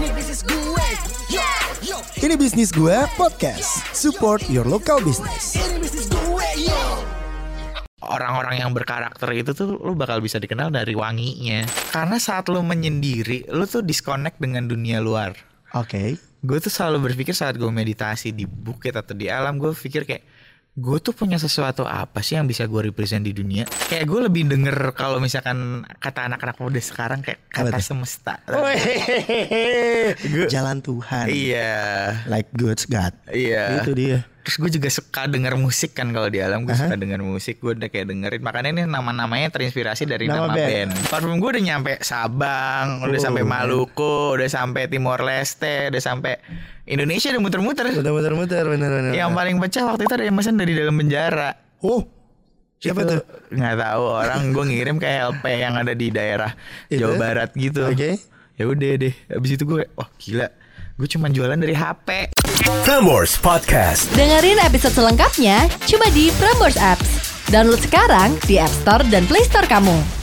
bisnis gue. Yo, yo. Ini bisnis gue podcast. Support your local business. Ini bisnis gue, yo. orang-orang yang berkarakter itu tuh lu bakal bisa dikenal dari wanginya. Karena saat lu menyendiri, lu tuh disconnect dengan dunia luar. Oke. Gue tuh selalu berpikir saat gue meditasi di bukit atau di alam, gue pikir kayak gue tuh punya sesuatu apa sih yang bisa gue represent di dunia? Kayak gue lebih denger kalau misalkan kata anak-anak muda sekarang kayak Apa kata tuh? semesta. Gua- Jalan Tuhan. Iya, Like good God. iya. Itu dia. Terus gue juga suka denger musik kan kalau di alam gue Aha. suka denger musik gue udah kayak dengerin makanya ini nama-namanya terinspirasi dari Nama nama, band. band. Parfum gue udah nyampe Sabang, udah Oh. sampai Maluku, udah sampai Timor Leste, udah sampai Indonesia udah muter-muter. Udah muter-muter bener-bener. Yang paling pecah waktu itu ada yang pesan dari dalam penjara. Oh. Siapa tuh? Itu Nggak tahu orang gue ngirim ke LP yang ada di daerah Itu? Jawa Barat gitu. Oke. Ya udah deh. Abis itu gue, wah gila. Gue cuma jualan dari HP. Prambors Podcast. Dengerin episode selengkapnya cuma di Prambors Apps. Download sekarang di App Store dan Play Store kamu.